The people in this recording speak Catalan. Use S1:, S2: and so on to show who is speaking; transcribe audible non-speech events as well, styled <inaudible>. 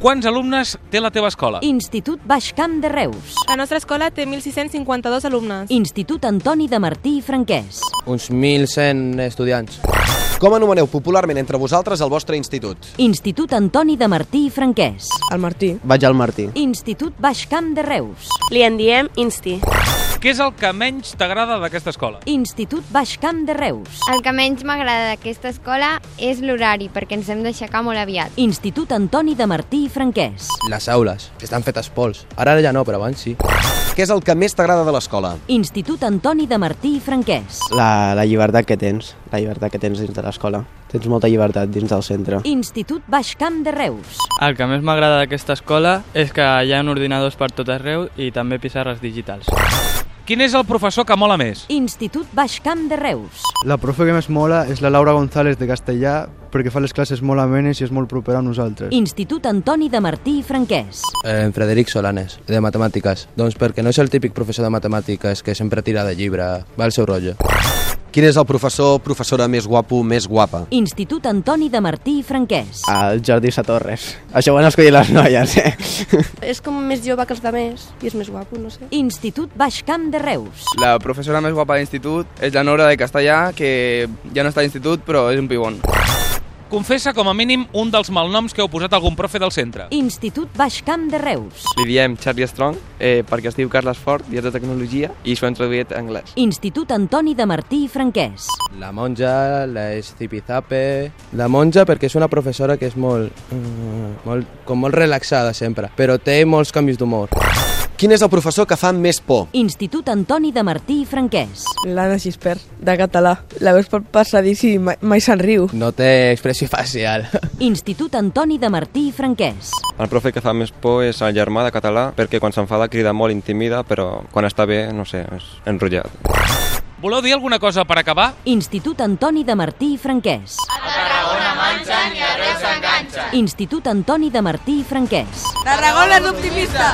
S1: Quants alumnes té la teva escola?
S2: Institut Baix Camp de Reus.
S3: La nostra escola té 1.652 alumnes.
S2: Institut Antoni de Martí i Franquès.
S4: Uns 1.100 estudiants.
S5: Com anomeneu popularment entre vosaltres el vostre institut?
S2: Institut Antoni de Martí i Franquès.
S6: El Martí.
S4: Vaig al Martí.
S2: Institut Baix Camp de Reus.
S7: Li en diem Insti.
S1: Què és el que menys t'agrada d'aquesta escola?
S2: Institut Baix Camp de Reus.
S8: El que menys m'agrada d'aquesta escola és l'horari, perquè ens hem d'aixecar molt aviat.
S2: Institut Antoni de Martí i Franquès.
S4: Les aules, que estan fetes pols. Ara ja no, però abans sí.
S5: Què és el que més t'agrada de l'escola?
S2: Institut Antoni de Martí i Franquès.
S9: La, la llibertat que tens, la llibertat que tens dins de l'escola. Tens molta llibertat dins del centre.
S2: Institut Baix Camp de Reus.
S10: El que més m'agrada d'aquesta escola és que hi ha ordinadors per tot arreu i també pissarres digitals.
S1: Quin és el professor que mola més?
S2: Institut Baix Camp de Reus.
S11: La profe que més mola és la Laura González de castellà perquè fa les classes molt amenes i és molt propera a nosaltres.
S2: Institut Antoni de Martí i Franquès.
S4: Eh, En Frederic Solanes, de matemàtiques. Doncs perquè no és el típic professor de matemàtiques que sempre tira de llibre, va al seu rotllo.
S5: Quin és el professor o professora més guapo més guapa?
S2: Institut Antoni de Martí i Franquès.
S9: Al Jordi Satorres. Això ho han escollit les noies, eh?
S6: És com més jove que els demés i és més guapo, no sé.
S2: Institut Baix Camp de Reus.
S12: La professora més guapa de l'institut és la Nora de Castellà, que ja no està a l'institut, però és un pibon.
S1: Confessa com a mínim un dels malnoms que heu posat a algun profe del centre.
S2: Institut Baix Camp de Reus.
S12: Li diem Charlie Strong eh, perquè es diu Carles Fort i és de tecnologia i s'ho han traduït a anglès.
S2: Institut Antoni de Martí i Franquès.
S4: La monja, la escipizape... La monja perquè és una professora que és molt... mm, molt com molt relaxada sempre, però té molts canvis d'humor.
S5: Quin és el professor que fa més por?
S2: Institut Antoni de Martí i Franquès.
S6: L'Anna Gispert, de català. La veus per passadís i mai, mai se'n riu.
S4: No té expressió <laughs> facial.
S2: Institut Antoni de Martí i Franquès.
S13: El profe que fa més por és el germà de català, perquè quan s'enfada crida molt intimida, però quan està bé, no sé, és enrotllat.
S1: Voleu dir alguna cosa per acabar?
S2: Institut Antoni de Martí i Franquès.
S14: Tarragona manxen i a Reus enganxen.
S2: Institut Antoni de Martí i Franquès.
S15: Tarragona és optimista!